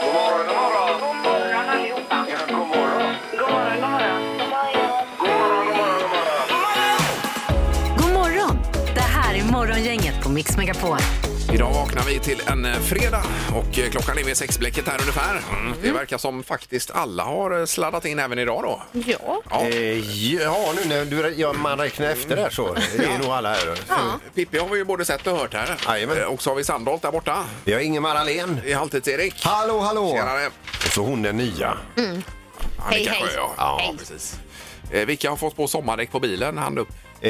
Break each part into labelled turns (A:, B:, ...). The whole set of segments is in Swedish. A: God morgon, god morgon.
B: God morgon allihopa.
A: Ja, god morgon.
B: God morgon, god morgon.
A: God morgon, god morgon, god morgon.
C: God morgon! Det här är Morgongänget på Mix Megapol.
D: Idag vaknar vi till en eh, fredag och eh, klockan är vid sexblecket här ungefär. Det verkar som faktiskt alla har eh, sladdat in även idag då.
E: Ja.
D: Ja.
F: Eh, ja, nu när du, ja, man räknar efter där så det är nog alla här.
D: Pippi har vi ju både sett och hört här.
F: Jajamän.
D: Eh, Och så har vi Sandholt där borta.
F: Vi har Ingemar Ahlén.
D: I Halvtids-Erik.
F: Hallå, hallå!
D: Tjenare.
F: Och så hon den nya.
D: Annika
E: hej.
D: Sjö, ja. ja precis. Eh, Vilka har fått på sommardäck på bilen? Hand upp.
F: Eh,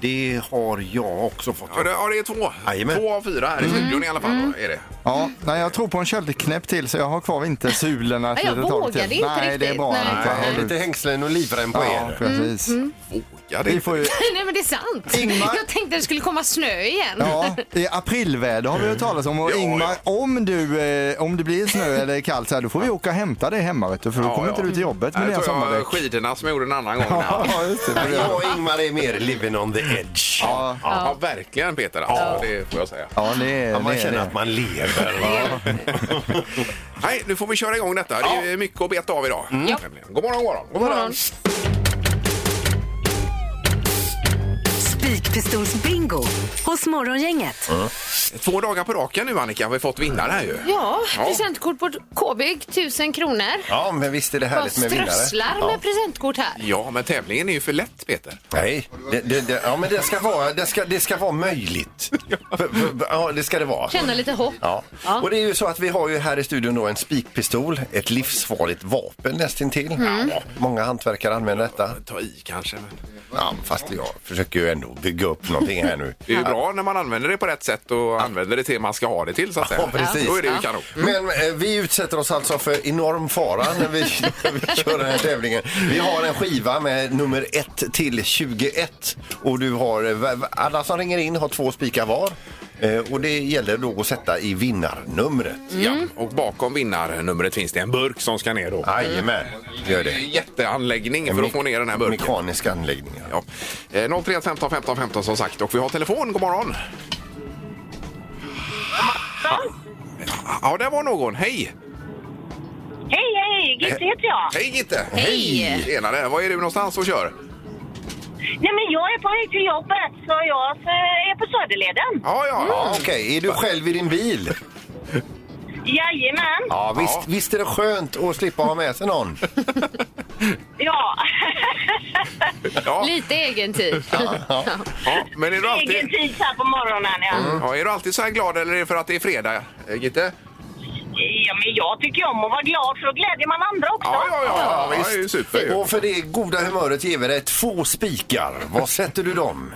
F: det har jag också fått.
D: Ja, det- Ja, det är två.
F: Jajamän.
D: Två av fyra här i studion i alla fall. då, Är det.
G: Ja, nej, jag tror på en köldknäpp till så jag har kvar vintersulorna ett
E: Nej, jag
G: litet tag
E: vågar
G: till.
E: inte
G: nej, det är
E: riktigt,
G: bara
E: nej.
G: att jag
F: Jag
G: har
F: har Eh, lite hängslen och livrem på
G: Ja,
F: er.
G: precis.
D: Vågar det
G: Vi
D: inte.
G: får ju,
E: Nej men det är sant.
G: Ingmar.
E: Jag tänkte det skulle komma snö igen.
G: ja, det är aprilväder har vi hört talas om och
D: Ja,
G: Ingmar, om du, eh, om det blir snö eller kallt så här, då får vi åka och hämta dig hemma vet du, för då
D: Ja,
G: kommer
D: ja.
G: inte du till jobbet med
D: Här
G: dina
D: tror jag
G: sommardäck.
D: skidorna som jag gjorde en annan gång. Ja,
G: Ja, just det.
F: Jag och Ingmar är mer living on the edge.
G: Ja,
D: ja verkligen Peter. Alltså, Det får jag säga.
G: ja, det är,
F: Ja, man
G: det är
F: känner
G: det.
F: att man lever. Va?
D: Nej, nu får vi köra igång detta. Det är mycket att beta av idag. Mm. God morgon, god morgon. God morgon.
C: Spikpistolsbingo hos Morgongänget.
D: Två dagar på raken nu Annika har vi fått vinnare här ju.
E: Ja,
D: Ja.
E: presentkort på KB, 1000 kronor.
F: Ja, men visst är det
E: Bara
F: härligt med vinnare.
E: strösslar med presentkort här.
D: Ja, men tävlingen är ju för lätt Peter.
F: Nej, det, det, det, ja, men det, ska vara, det, ska, det ska vara möjligt. För- för- Ja, det ska det vara.
E: Känna lite hopp.
F: Ja. och det är ju så att vi har ju här i studion då en spikpistol, ett livsfarligt vapen nästintill.
D: Mm.
F: Ja, många hantverkare använder detta.
D: Ta i kanske. Men
F: Ja, fast jag försöker ju ändå bygga upp någonting här nu.
D: det är ju bra när man använder det på rätt sätt och använder det till man ska ha det till så att säga.
F: Ja, precis.
D: Då är det ju kanon. Mm.
F: Men eh, vi utsätter oss alltså för enorm fara när vi, när vi kör den här tävlingen. Vi har en skiva med nummer 1 till 21 och du har, eh, va- va- alla som ringer in har två spikar var. Eh, Och det gäller då att sätta i vinnarnumret.
D: Ja, och bakom vinnarnumret finns det en burk som ska ner då.
F: Jajamän, gör
D: Det
F: det.
D: är en jätteanläggning för att få ner den här burken.
F: Mekaniska anläggningar.
D: Ja. Eh, 031 15 15 15 som sagt och vi har telefon. God morgon! Ja, där var någon. Hej!
B: Hej, hej! Gitte heter jag.
D: Hej Gitte!
E: Hej.
D: Tjenare! Var är du någonstans och kör?
B: Nej, men jag är på väg till jobbet, så jag eh, är på Söderleden.
D: Ja, ja.
F: Ja, Okej, är du själv i din bil?
B: Jajamän.
F: Ja, visst, visst är det skönt att slippa ha med sig någon?
B: Ja.
D: ja.
E: Lite egen tid.
D: ja. Men är du
B: Egen
D: alltid... Mm.
B: tid så här på morgonen, ja.
D: Ja, är du alltid så här glad eller är det för att det är fredag, eh, Gitte?
B: ja men jag tycker om att vara glad, för då glädjer man andra också.
D: Ja, ja, ja. ja, visst. det är ju super ju.
F: Och för det goda humöret ger vi dig två spikar. Var sätter du dem?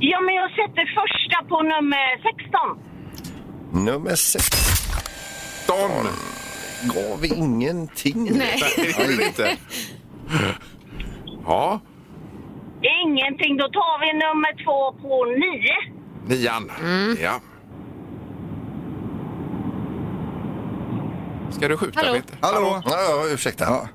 B: Ja, men jag sätter första på nummer 16.
F: Nummer sex
D: Dan.
F: gav vi ingenting.
E: Nej.
D: Det är det inte. Ja,
B: Ingenting, då tar vi nummer två på 9.
D: nian. Ja. Ska du skjuta,
E: Hallå?
D: Peter?
G: Hallå?
F: Ja, ja, ursäkta.
G: Ja.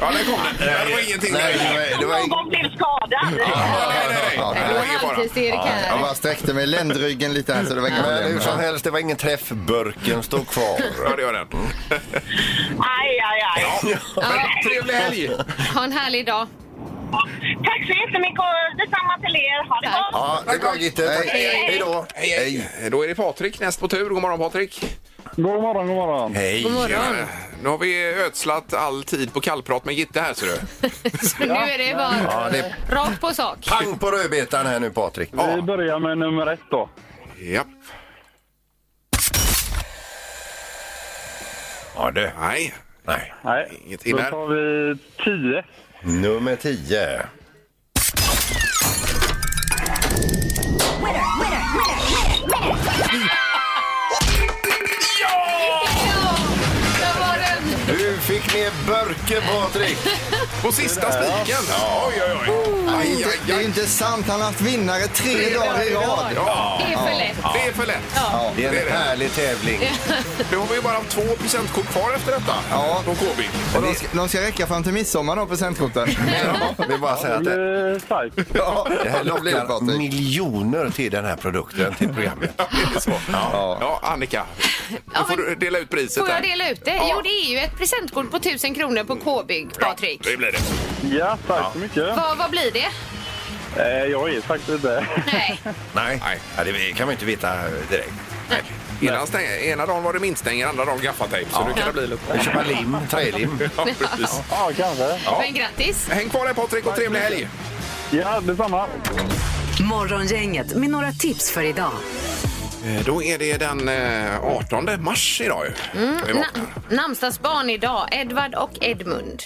D: Ja, där kom den. Det var ingenting.
F: Nej, det
D: där.
F: var, det var ing-
B: Någon blev skadad.
D: Ja, nej, nej,
G: Ja,
D: nej.
E: Det
D: Det
E: var
D: var ingen fara.
E: halvtids-Erik
G: Jag
E: här.
G: bara sträckte mig i ländryggen lite här så det var inga
F: men hur
G: problem.
F: som helst, det var ingen träff. Burken står kvar.
D: Ja, det gör den.
B: Aj, aj, aj.
D: Men trevlig helg!
E: Ha en härlig dag.
B: Tack så jättemycket och detsamma till er. Ha det
E: Tack.
B: gott.
F: Ja, det är bra, Gitte. Tack.
E: Hej.
F: Hej då.
D: Hej, hej. Då är det Patrik näst på tur. God morgon, Patrik.
H: God morgon, god morgon.
F: Hej.
E: God morgon.
D: Tjenare. Nu har vi ödslat all tid på kallprat med Gitte här, ser du.
E: Så nu är det bara
F: Ja, det är
E: rakt på sak.
F: pang på rödbetan här nu, Patrik.
H: Vi börjar med nummer ett då.
D: Japp.
F: Ja, du.
D: Nej.
F: Nej.
H: Nej,
D: Inget in
H: då
D: här.
H: tar vi tio.
F: Nummer tio.
E: Där var den.
F: Du fick ner burken, Patrik.
D: På sista spiken. Oj, oj, oj.
F: Aj,
D: Aj,
G: inte,
D: aj,
G: det är
D: aj.
G: inte sant. Han har haft vinnare tre dagar i rad.
D: Ja,
E: Det är för lätt.
D: det är för lätt.
F: Ja, det är
D: Det är
F: en
D: det.
F: härlig tävling.
D: Nu har vi ju bara 2 presentkort kvar efter detta.
G: Ja.
D: Från KB.
G: Och de, ska, de ska räcka fram till midsommar de presentkorten.
F: Ja, vi bara säger
H: Det
F: att det,
H: blir starkt.
G: Ja,
F: det här
G: då blir det bra,
F: lockar
G: Patrik.
F: miljoner till den här produkten, till programmet.
D: Är det så? Ja. ja, Annika. Nu
E: Ja,
D: får
E: men-
D: du dela ut priset.
E: Får
D: här.
E: jag dela ut det?
D: Ja.
E: Jo, det är ju ett presentkort på 1000 kronor på K-bygg, Patrik.
D: Ja, det blir det.
H: Ja, tack så mycket.
E: Vad, vad blir det?
H: Eh, Jag vet faktiskt inte.
E: Nej.
F: Nej,
D: Nej.
F: Ja, det kan man inte veta direkt.
D: Ena, stäng, ena dagen var det minstänger, andra dagen gaffatejp. Så nu kan det bli lite...
F: Vi köper lim, trälim.
D: Ja, precis.
H: Ja, kanske.
E: Men grattis.
D: Häng kvar där Patrik och trevlig helg!
H: Ja, detsamma.
C: Morgongänget med några tips för idag.
D: Eh, Då är det den eh, 18 mars idag ju. Vi vaknar.
E: Na- namnsdagsbarn idag, Edvard och Edmund.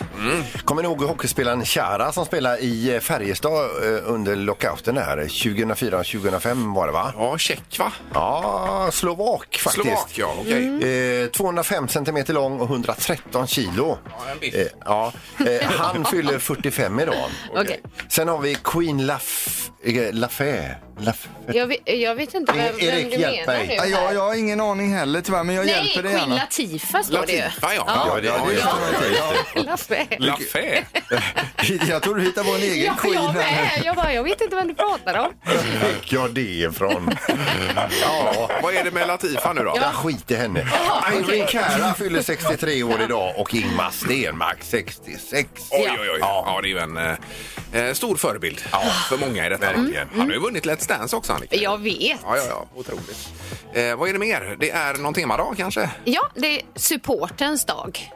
F: Kommer ni ihåg hockeyspelaren Chara som spelade i eh, Färjestad eh, under lockouten här? 2004-2005 var det va?
D: Ja, check va?
F: Ja, Slovak faktiskt.
D: Slovak ja, okej.
F: Eh, 205 centimeter lång och 113 kilo.
D: Ja, en biff.
F: eh, ja. Eh, han fyller 45 idag.
E: Okej.
F: Sen har vi Queen Laf... eh, Lafay. Laf...
E: Jag, ve- jag vet inte vem,
F: Erik,
E: vem du
F: hjälp
E: menar
F: mig.
E: nu.
G: Ja,
E: här.
G: jag, jag har ingen aning heller tyvärr, men jag
E: Nej,
G: hjälper dig
E: Queen
G: gärna.
E: Latifah står det ju.
D: Latifa ja.
F: Ja, det- det-
E: Laffe.
D: Lafay.
G: Jag tror du hittar på en egen
E: Ja,
G: queen.
E: jag
G: här.
E: med. Jag bara, jag vet inte vem du pratar om.
F: Fick jag det ifrån? ja.
D: Vad är det med Latifa nu då?
F: Jag skit i henne. Irene Cara fyller 63 år idag och Ingmar Stenmark 66.
D: Oj, oj, oj. Ja, det är ju en eh, eh, stor förebild för många i detta. Mm. Han har ju vunnit Let's Dance också, Annika.
E: Jag vet.
D: Ja, ja, ja. Otroligt. Eh, vad är det mer? Det är någon temadag kanske?
E: Ja, det är supportens dag.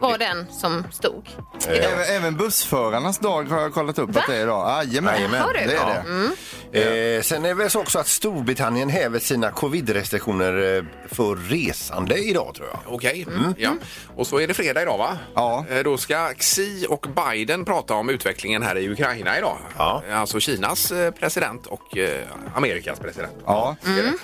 E: Var den som stod.
G: Även, även bussförarnas dag har jag kollat upp att det är idag. Ah, Jajamän,
E: Har du?
G: det är det.
F: Eh, sen är det väl så också att Storbritannien häver sina covid-restriktioner eh, för resande idag tror jag.
D: Okej. Ja. Och så är det fredag idag, va?
G: Ja.
D: Eh, Då ska Xi och Biden prata om utvecklingen här i Ukraina idag.
F: Ja.
D: Alltså Kinas eh, president och eh, Amerikas president.
G: Ja.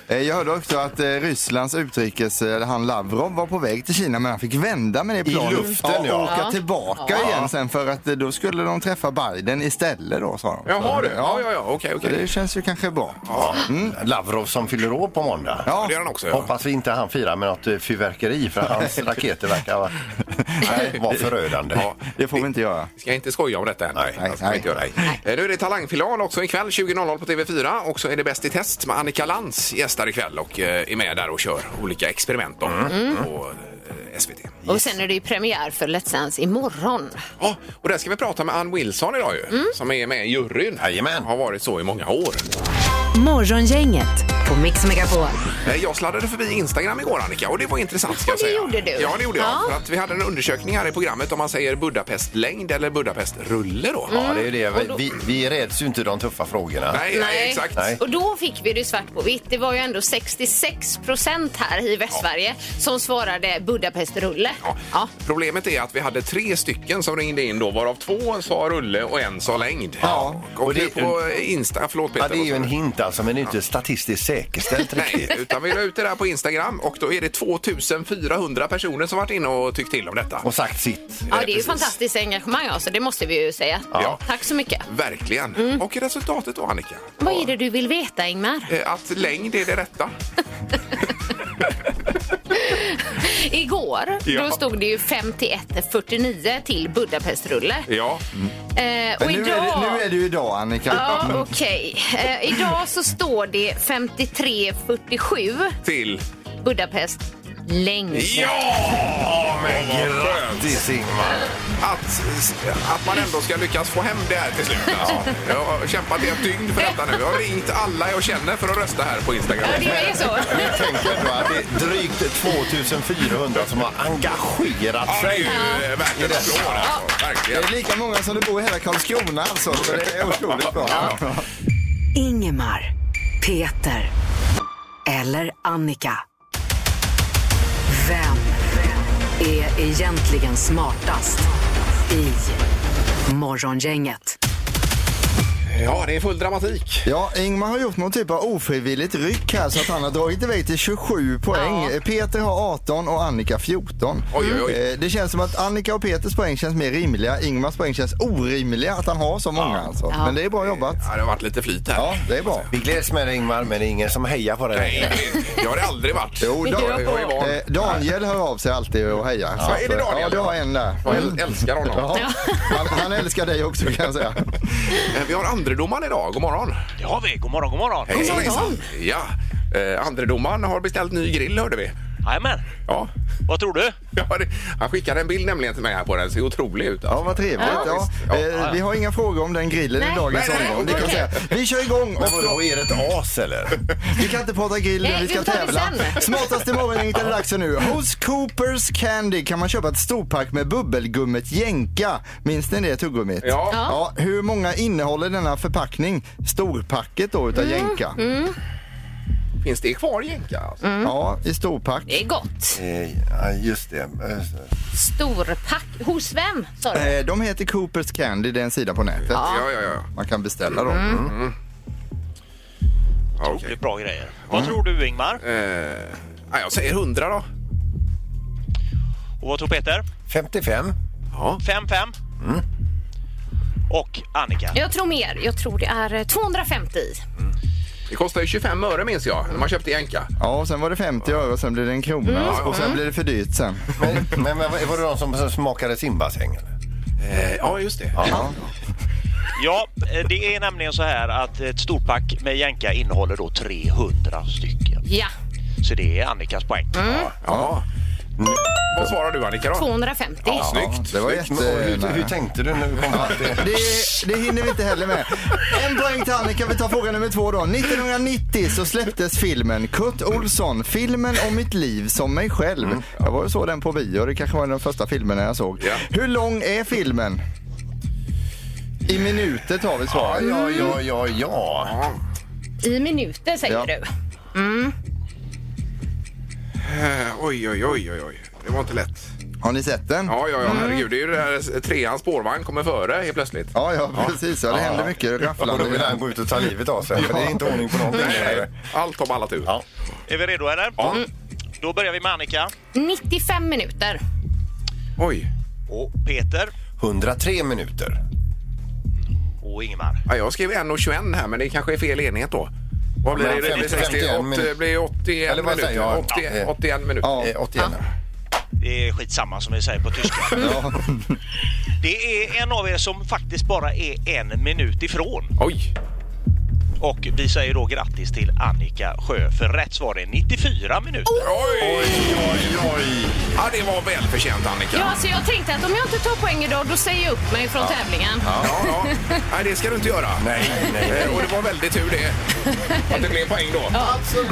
G: Eh, Jag hörde också att eh, Rysslands utrikes, eh, han Lavrov var på väg till Kina men han fick vända med det planet.
F: luften, ja.
G: Och åka
E: Ja.
G: tillbaka igen sen för att eh, då skulle de träffa Biden istället då sa de.
D: Jaha, du. Ja, ja, ja. Okej,
G: Så
D: okej.
G: det känns ju kanske bra.
F: Ja. Lavrov som fyller år på måndag.
G: Ja.
D: Det gör han också. Ja.
F: Hoppas vi inte han firar med något eh, fyrverkeri för hans raketer verkar vara var förödande.
D: Ja.
G: Det får vi inte göra.
D: Vi ska inte skoja om detta än.
F: Nej,
D: Jag ska
G: nej,
D: inte göra det. Eh, Nu är det talangfinal också ikväll 20.00 på TV4 och så är det Bäst i test med Annika Lantz gästar ikväll och eh, är med där och kör olika experiment då, på eh, SVT.
E: Och sen är det ju premiär för Let's Dance imorgon.
D: Ja, och där ska vi prata med Ann Wilson idag ju,
E: Mm.
D: som är med i juryn.
F: Jajamän.
D: Har varit så i många år.
C: Morgongänget på Mix Megapol.
D: Eh, Jag sladdade förbi Instagram igår Annika och det var intressant ska
E: Ja,
D: jag
E: det
D: säga.
E: gjorde du.
D: Ja, det gjorde jag.
E: Ja.
D: För att vi hade en undersökning här i programmet om man säger Budapestlängd eller Budapestrulle Mm. då.
E: Mm.
F: Ja, det är ju det. Vi, vi, vi räds ju inte de tuffa frågorna.
D: Nej, nej, exakt.
F: Nej.
E: Och då fick vi det svart på vitt. Det var ju ändå 66 procent här i Västsverige som svarade Budapestrulle.
D: Ja.
E: Ja.
D: Problemet är att vi hade tre stycken som ringde in då, varav två sa rulle och en sa längd.
F: Ja.
D: Och,
F: Och
D: nu
F: det-
D: på Insta, förlåt Peter.
F: Ja, det är ju en hint alltså, men det är inte statistiskt säkerställt
D: Nej,
F: riktigt.
D: utan vi la ut det där på Instagram och då är det 2400 personer som varit inne och tyckt till om detta.
F: Och sagt sitt.
E: Ja, det är ju
D: precis.
E: fantastiskt engagemang, alltså. det måste vi ju säga.
D: Ja.
E: Tack så mycket.
D: Verkligen.
E: Mm.
D: Och resultatet då Annika?
E: Vad är det du vill veta, Ingmar?
D: Eh, Att längd är det rätta.
E: Igår
D: Ja.
E: då stod det ju 51-49 till Budapestrulle.
D: Ja.
E: Eh, och
G: Men nu, är det,
E: idag...
G: nu är Mm. det ju idag Annika.
E: Ja, okej. Eh, idag så står det 53-47
D: Till...
E: Budapest längd.
D: Ja! Men
F: Grattis Ingmar!
D: Att, eh, att man ändå ska lyckas få hem det här till slut. Alltså. Jag har kämpat i ett dygn för detta nu. Jag har ringt alla jag känner för att rösta här på Instagram.
E: Ja, det är så.
F: Jag tänker ändå att det är drygt 2400 som har engagerat
D: Ja, det är
F: sig.
D: ju eh, värt en applåd. Alltså.
G: Det
D: Verkligen.
G: är lika många som det bor i hela Karlskrona alltså. Så det är otroligt bra.
C: Ingemar, Peter eller Annika. Vem är egentligen smartast i Morgongänget?
D: Ja, det är full dramatik.
G: Ja, Ingmar har gjort någon typ av ofrivilligt ryck här så att han har dragit iväg till 27 poäng. Peter har 18 och Annika 14.
D: Oj, oj, oj.
G: Eh, Det känns som att Annika och Peters poäng känns mer rimliga. Ingmars poäng känns orimliga att han har så många alltså. Men det är bra jobbat.
D: Ja, det har varit lite flyt här.
G: Ja, det är bra.
F: Vi gläds med dig Ingmar, men det är ingen som hejar på dig.
D: Nej, det har det aldrig varit.
G: Jo,
E: Vi
G: då,
E: drar på.
D: Jag är van.
G: eh, Daniel hör av sig alltid och hejar. eh,
D: Ja, är det Daniel?
G: Ja, du har en där.
D: Jag äl- älskar honom.
G: Ja. Han, han älskar dig också kan jag säga.
D: Eh, Vi har andredomaren idag. God morgon.
I: Det har vi. God morgon, god morgon.
D: Hej, hejsan. Ja. Eh, Andredomaren har beställt ny grill hörde vi.
I: Jajamän.
D: Ja.
I: Vad tror du?
D: Ja, det, han skickade en bild nämligen till mig här på den. Ser otrolig ut.
G: Ja, vad trevligt. Ja.
D: visst. Ja.
G: Eh, vi har inga frågor om den grillen i
E: Nej.
G: dagens
D: Nej, nej,
G: omgång. Det kan jag säga. Vi kör igång och
F: Men vadå, är det ett as eller?
G: Vi kan inte prata grill
E: Nej,
G: vi ska
E: vi tar det
G: tävla.
E: sen.
G: Smartaste morgongänget är det dags för nu. Hos Coopers Candy kan man köpa ett storpack med bubbelgummet Jenka. Minns ni det tuggummit?
D: Ja.
G: ja. Hur många innehåller denna förpackning? Storpacket då utav Jenka.
D: Finns det kvar jänka? Alltså?
G: Ja, i storpack.
E: Det är gott.
F: Eh, Ja, just det. Eh,
E: Storpack. Hos vem? Sa du?
G: Eh, De heter Coopers Candy, det är en sida på nätet.
D: Ja, ja, ja.
G: Man kan beställa dem.
D: ja
I: Otroligt
D: okej. Mm.
I: bra grejer. Vad tror du Ingmar?
D: eh, ja, jag säger 100 då.
I: Och vad tror Peter?
F: 55.
D: Ja.
I: 5-5.
D: Mm.
I: Och Annika.
E: Jag tror mer. Jag tror det är eh, 250 i.
D: Det kostar ju 25 öre minns jag när man köpte jänka.
G: Ja, och sen var det 50 öre och sen blev det en krona och sen blev det för dyrt sen.
F: Men, men, men var det de som smakade simbassäng? eller?
D: Eh, ja, just det.
I: Ja, eh, det är nämligen så här att ett storpack med jänka innehåller då 300 stycken.
E: Ja,
I: Så det är Annikas poäng.
D: Ja. Vad svarar du Annika då?
E: 250.
D: Snyggt.
G: Det var
F: Men, och hur,
G: jättenära.
F: hur tänkte du när du kom fram till det?
G: Det, det hinner vi inte heller med. En poäng till Annika. Vi tar fråga nummer två då. 1990 så släpptes filmen Kurt Olsson, filmen om mitt liv som mig
F: Mm.
G: själv. Jag var och såg den på bio. Det kanske var den första filmen jag såg.
D: Ja.
G: Hur lång är filmen? I minuter tar vi
F: Ja,
G: svaret.
F: ja, ja, ja, ja.
E: I minuter säger
G: Ja.
E: du.
D: Eh, Oj, oj, oj, oj, oj. Det var inte lätt. Mm.
G: Har ni sett den?
D: Ja, ja, ja, herregud. Det är ju det här trean spårvagn kommer före helt plötsligt.
G: Ja, ja precis. Ja, det händer mycket
F: Och då
G: rafflande.
F: vill han gå ut och ta livet av sig. För det är inte ordning på någonting.
D: Nej, Eh, Allt har ballat ur.
F: Ja.
I: Är vi redo eller?
D: Ja.
I: Då börjar vi med Annika
E: 95 minuter.
D: Oj.
I: och Peter
F: 103 minuter.
I: och Ingmar.
D: Ja, jag skrev 1.21 här, men det kanske är fel enhet då. Vad blir det? Det blir
F: 50,
D: 60,
F: 51
D: åt- det blir 81
F: Eller vad säger
D: minuter.
F: jag?
D: 80,
F: Ja.
D: 81 minuter.
G: Ja.
F: Eh, 81.
I: Det är skitsamma som vi säger på tyska.
G: Ja.
I: Det är en av er som faktiskt bara är en minut ifrån.
D: Oj!
I: Och vi säger då grattis till Annika Sjö för rätt svar är 94 minuter.
D: Oj, oj, oj! Ja, det var välförtjänt, Annika.
E: Ja, så jag tänkte att om jag inte tar poäng idag då säger jag upp mig från tävlingen.
D: Ja, ja. Nej, det ska du inte göra.
F: Nej, nej, nej.
D: Eh, Och det var väldigt tur det, att det blev poäng då.
G: Absolut,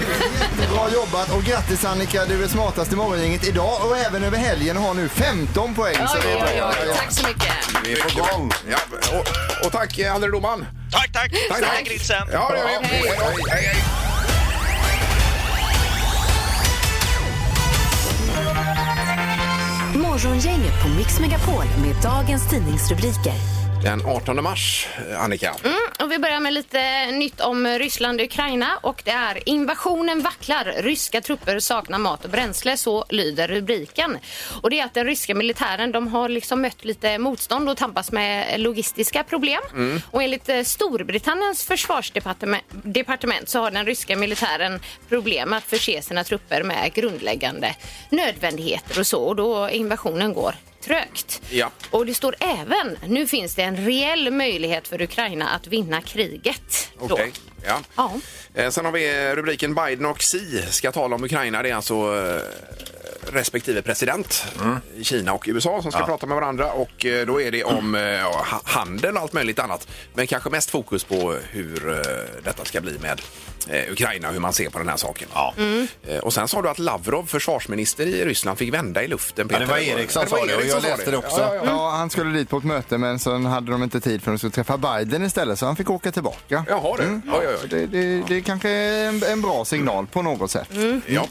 G: jättebra jobbat och grattis Annika, du är smartast i morgongänget idag och även över helgen och har nu 15 poäng. så
E: Oj,
G: det är bra.
E: oj, oj. Tack så mycket.
F: Vi är på gång.
D: Ja, och, och tack, eh, andre domaren.
I: Tack, Oh! tack! Snälla grisen!
D: Ja, det gör vi.
E: Hej.
D: Hej, hej, hej, hej.
C: Morgongänget på Mix Megapol med dagens tidningsrubriker.
D: Den 18 mars, eh, Annika.
E: Och vi börjar med lite nytt om Ryssland och Ukraina och det är invasionen vacklar. Ryska trupper saknar mat och bränsle, så lyder rubriken. Och det är att den ryska militären, de har liksom mött lite motstånd och tampas med logistiska problem. Och enligt eh, Storbritanniens försvarsdepartement så har den ryska militären problem att förse sina trupper med grundläggande nödvändigheter och så. Och då invasionen går trögt.
D: Ja.
E: Och det står även, nu finns det en reell möjlighet för Ukraina att vinna kriget. då.
D: Okej. Ja.
E: Ja.
D: Eh, Sen har vi eh, rubriken Biden och Xi ska tala om Ukraina. Det är alltså eh, respektive president i Kina och USA som ska prata med varandra. Och eh, då är det om eh, ja, ha- handel och allt möjligt annat. Men kanske mest fokus på hur eh, detta ska bli med eh, Ukraina och hur man ser på den här saken. Eh, Och sen sa du att Lavrov, försvarsminister i Ryssland, fick vända i luften.
F: det var Eriksson
D: Ja, det var
F: sa det och
D: Eriksson
F: jag
D: sa
F: läste det också.
D: Ja, ja, ja.
G: Ja, han skulle dit på ett möte men sen hade de inte tid för att de skulle träffa Biden istället så han fick åka tillbaka.
F: Mm.
D: Jaha du. Oj, oj, oj.
E: Mm.
G: Det, det, det är kanske en, en bra signal på något sätt.
D: Ja.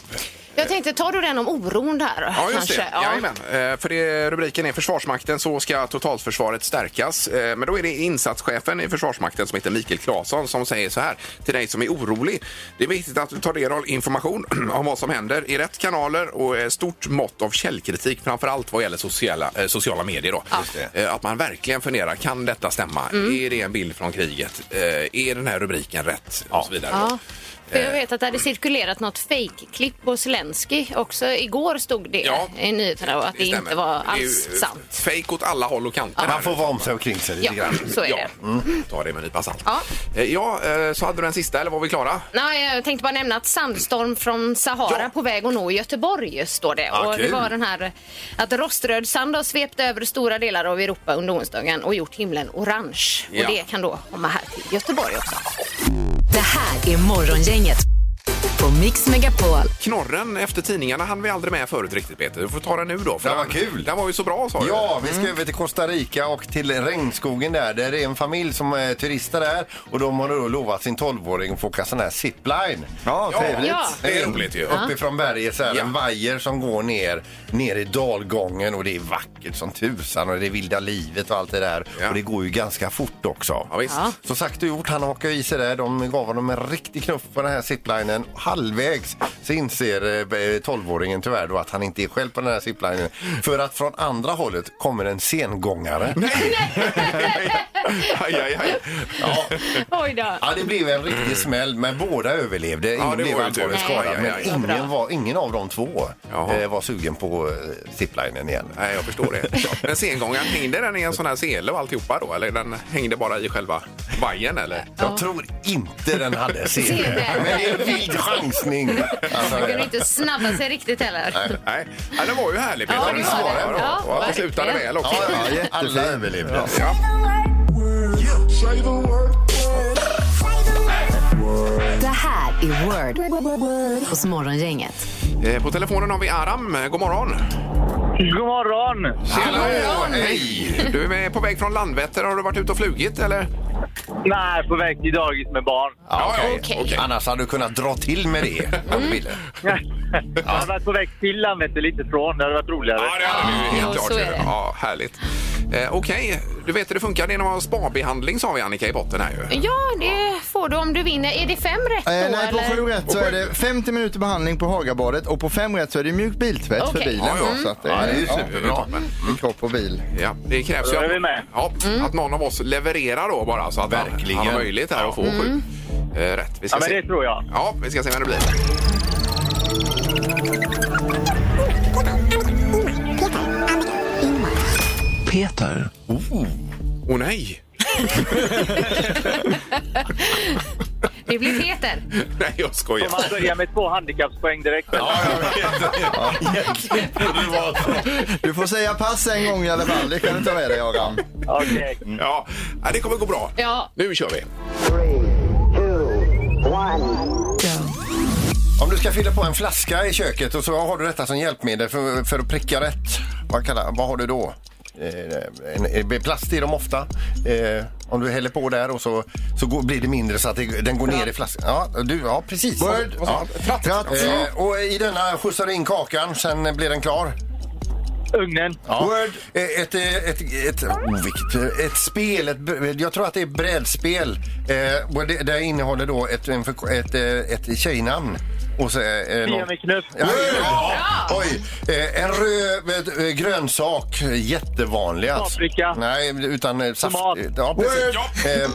E: Jag tänkte, tar du den om oron där?
D: Ja, just det.
E: kanske? Ja.
D: Jajamän. Eh, För det, rubriken är Försvarsmakten så ska totalförsvaret stärkas. Eh, Men då är det insatschefen i Försvarsmakten som heter Mikael Claesson som säger så här till dig som är orolig. Det är viktigt att du tar del av information om vad som händer i rätt kanaler och eh, stort mått av källkritik, framför allt vad gäller sociala, eh, sociala medier. Då.
F: Just
D: Eh, Att man verkligen funderar, kan detta stämma?
E: Mm.
D: Är det en bild från kriget? Eh, Är den här rubriken rätt? Och så vidare.
E: Ja. För jag vet att det hade cirkulerat något fake-klipp på Zelensky också. Igår stod det
D: Ja.
E: i nyheterna och att det,
D: stämmer.
E: inte var
D: Det är ju
E: alls sant.
D: Fake åt alla håll och kanter. här.
F: Man får vara om sig och kring sig lite
E: Ja,
F: grann.
E: så är det.
D: Mm. Ta det med en nypa salt.
E: Ja.
D: Eh, Ja, eh, så hade du den sista, eller var vi klara?
E: Nej, jag tänkte bara nämna att sandstorm från Sahara
D: Ja.
E: på väg att nå Göteborg står det.
D: Ah,
E: och det
D: kul.
E: var den här att roströd sand har svept över stora delar av Europa under onsdagen och gjort himlen orange.
D: Ja.
E: Och det kan då komma här till Göteborg också.
C: Det här är Morgongänget på Mix Megapol.
D: Knorren efter tidningarna hann vi aldrig med förut riktigt, Peter. Du får ta den nu då. för
F: Det var
D: den-
F: kul.
D: Den var ju så bra, sa du.
F: Ja, vi ska över till Costa Rica och till regnskogen där. Där är en familj som är turister där och de har då lovat sin 12-åring att få åka sån här zipline.
G: Ja, trevligt.
E: Ja.
D: Det är roligt ju.
F: Uppifrån berget så här,
D: Ja.
F: en vajer som går ner, ner i dalgången och det är vackert som tusan och det är vilda livet och allt det där.
D: Ja.
F: Och det går ju ganska fort också.
D: Ja, visst.
E: Ja.
F: Så sagt och gjort, han hakar i sig där. De gav honom en riktig knuff på den här ziplinen. Halvvägs så inser eh, 12-åringen tyvärr då att han inte är själv på den här ziplinen. För att från andra hållet kommer en sengångare.
D: Aj, aj, aj.
F: Ja,
E: Oj då.
F: ja, det blev en riktig smäll, men båda överlevde. Ingen
D: det
F: blev
D: var ju tur.
F: allvarligt
D: Nej.
F: skadad,
D: Aj, aj,
F: men
D: aj.
E: Bra.
F: ingen, var, ingen av de två
D: Jaha.
F: eh, var sugen på eh, ziplinen igen.
D: Nej, jag förstår det. Men sengångaren, hängde den i en sån här sele och alltihopa då? Eller den hängde bara i själva vajern, eller?
F: Jag tror inte den hade
E: Sele.
F: sele, men det är en vild chansning. Alltså,
E: Man kunde inte snabba sig riktigt heller.
D: Nej, ja, den var ju härlig, Peter.
E: Ja, det var
D: var
E: den.
D: bra.
E: Ja,
D: Och att den
E: verkligen.
D: slutade väl också.
F: ja,
D: Ja,
F: ja, alla överlevde.
C: Det här är Word hos Morgongänget.
D: Eh, På telefonen har vi Aram. Eh, God morgon!
H: God morgon!
D: Hallå! Hej! Du är på väg från Landvetter. Har du varit ute och flugit, eller?
H: Nej, på väg till dagis med barn.
F: Ja,
D: Ja,
F: okej.
E: okej.
F: Okej. Annars hade du kunnat dra till med det om du ville.
H: Jag har varit på väg till Landvetter lite från. Det hade varit roligare.
D: Ja, det hade vi ju
E: Ja,
D: helt klart.
E: så är
D: ju.
E: det.
D: Ja, härligt. Eh, Okej, du vet hur det funkar. Det är någon spabehandling sa vi Annika i botten här ju.
E: Ja, det får du om du vinner. Är det fem rätt då?
G: Eh, nej, på
E: eller?
G: sju rätt så är det 50 minuter behandling på Hagabadet och på fem rätt så är det mjukt biltvätt för
E: Okej.
G: bilen.
D: Ja, ja.
G: då, Så att det,
F: Ja, det är ju
G: ja,
F: superbra.
G: i kropp och bil.
D: Ja, det krävs ju
H: Då är
D: att,
H: vi med.
D: Ja, att någon av oss levererar då bara så att han-
F: Verkligen.
D: han har möjlighet här att få sju eh, rätt. Vi ska
H: Ja, men
D: se.
H: det tror jag.
D: Ja, vi ska se vem det blir.
J: Peter.
D: Åh oh, nej!
E: Det blir Peter.
D: Nej, jag skojar.
H: Får man börja med två handikappspoäng direkt? eller?
G: Du får säga pass en gång i alla fall. Det kan du ta med dig, Aram.
H: Okej.
D: Ja, ja, det kommer gå bra.
E: Ja.
D: Nu kör vi.
F: Om du ska fylla på en flaska i köket och så har du detta som hjälpmedel för, för att pricka rätt. Vad, kallar, vad har du då? Eh, en- en- Plast är de ofta. Eh, om du häller på där och så, så går, blir det mindre så att det, den går ner i flaskan. Ja, du, ja precis.
G: Word.
F: Ja.
G: Tratt.
F: Eh, och i denna skjutsar du in kakan, sen blir den klar.
H: Ugnen.
F: Ja. Word. Ett, eh, ett, ett, oh, vilket, eh, ett spel, ett, br- jag tror att det är brädspel. Eh, och det, det innehåller då ett, en förk- ett, eh, ett tjejnamn. Och så, eh,
H: Fia
F: någon-
H: med knuff.
F: Ja, ja. Oj. Eh, en röd eh, grönsak, jättevanlig. alltså.
H: Paprika.
F: Nej, utan eh, saft.
H: Tomat.
F: Ja, precis. Eh,